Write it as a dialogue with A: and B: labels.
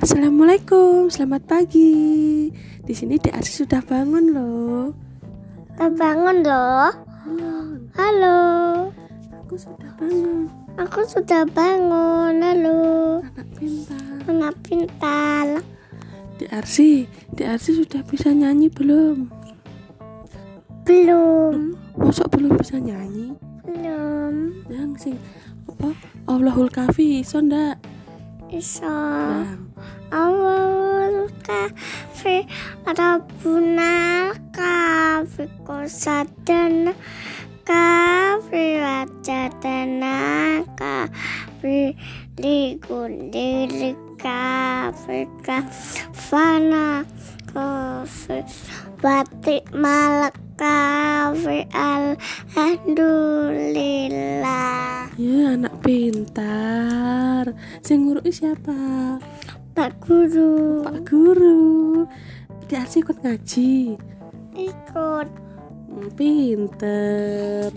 A: Assalamualaikum, selamat pagi. Di sini Dek Arsi sudah bangun loh.
B: Terbangun loh.
A: Belum,
B: Halo.
A: aku sudah bangun.
B: Aku sudah bangun. Halo.
A: Anak pintar.
B: Anak pintar.
A: Dek Arsi, Dek Arsi sudah bisa nyanyi belum?
B: Belum.
A: Masa belum bisa nyanyi?
B: Belum.
A: Yang sing apa? Allahul kafi iso ndak?
B: Iso.
A: Dang.
B: Awal kafe Rabuna kafe kosadana kafe wajadana kafe ligundiri kafe kafana kafe batik malak kafe alhamdulillah
A: Ya, anak pintar. Sing nguruki siapa?
B: Pak Guru
A: Pak guru. Dek Arsi ikut ngaji.
B: ikut
A: Hmm, Pinter.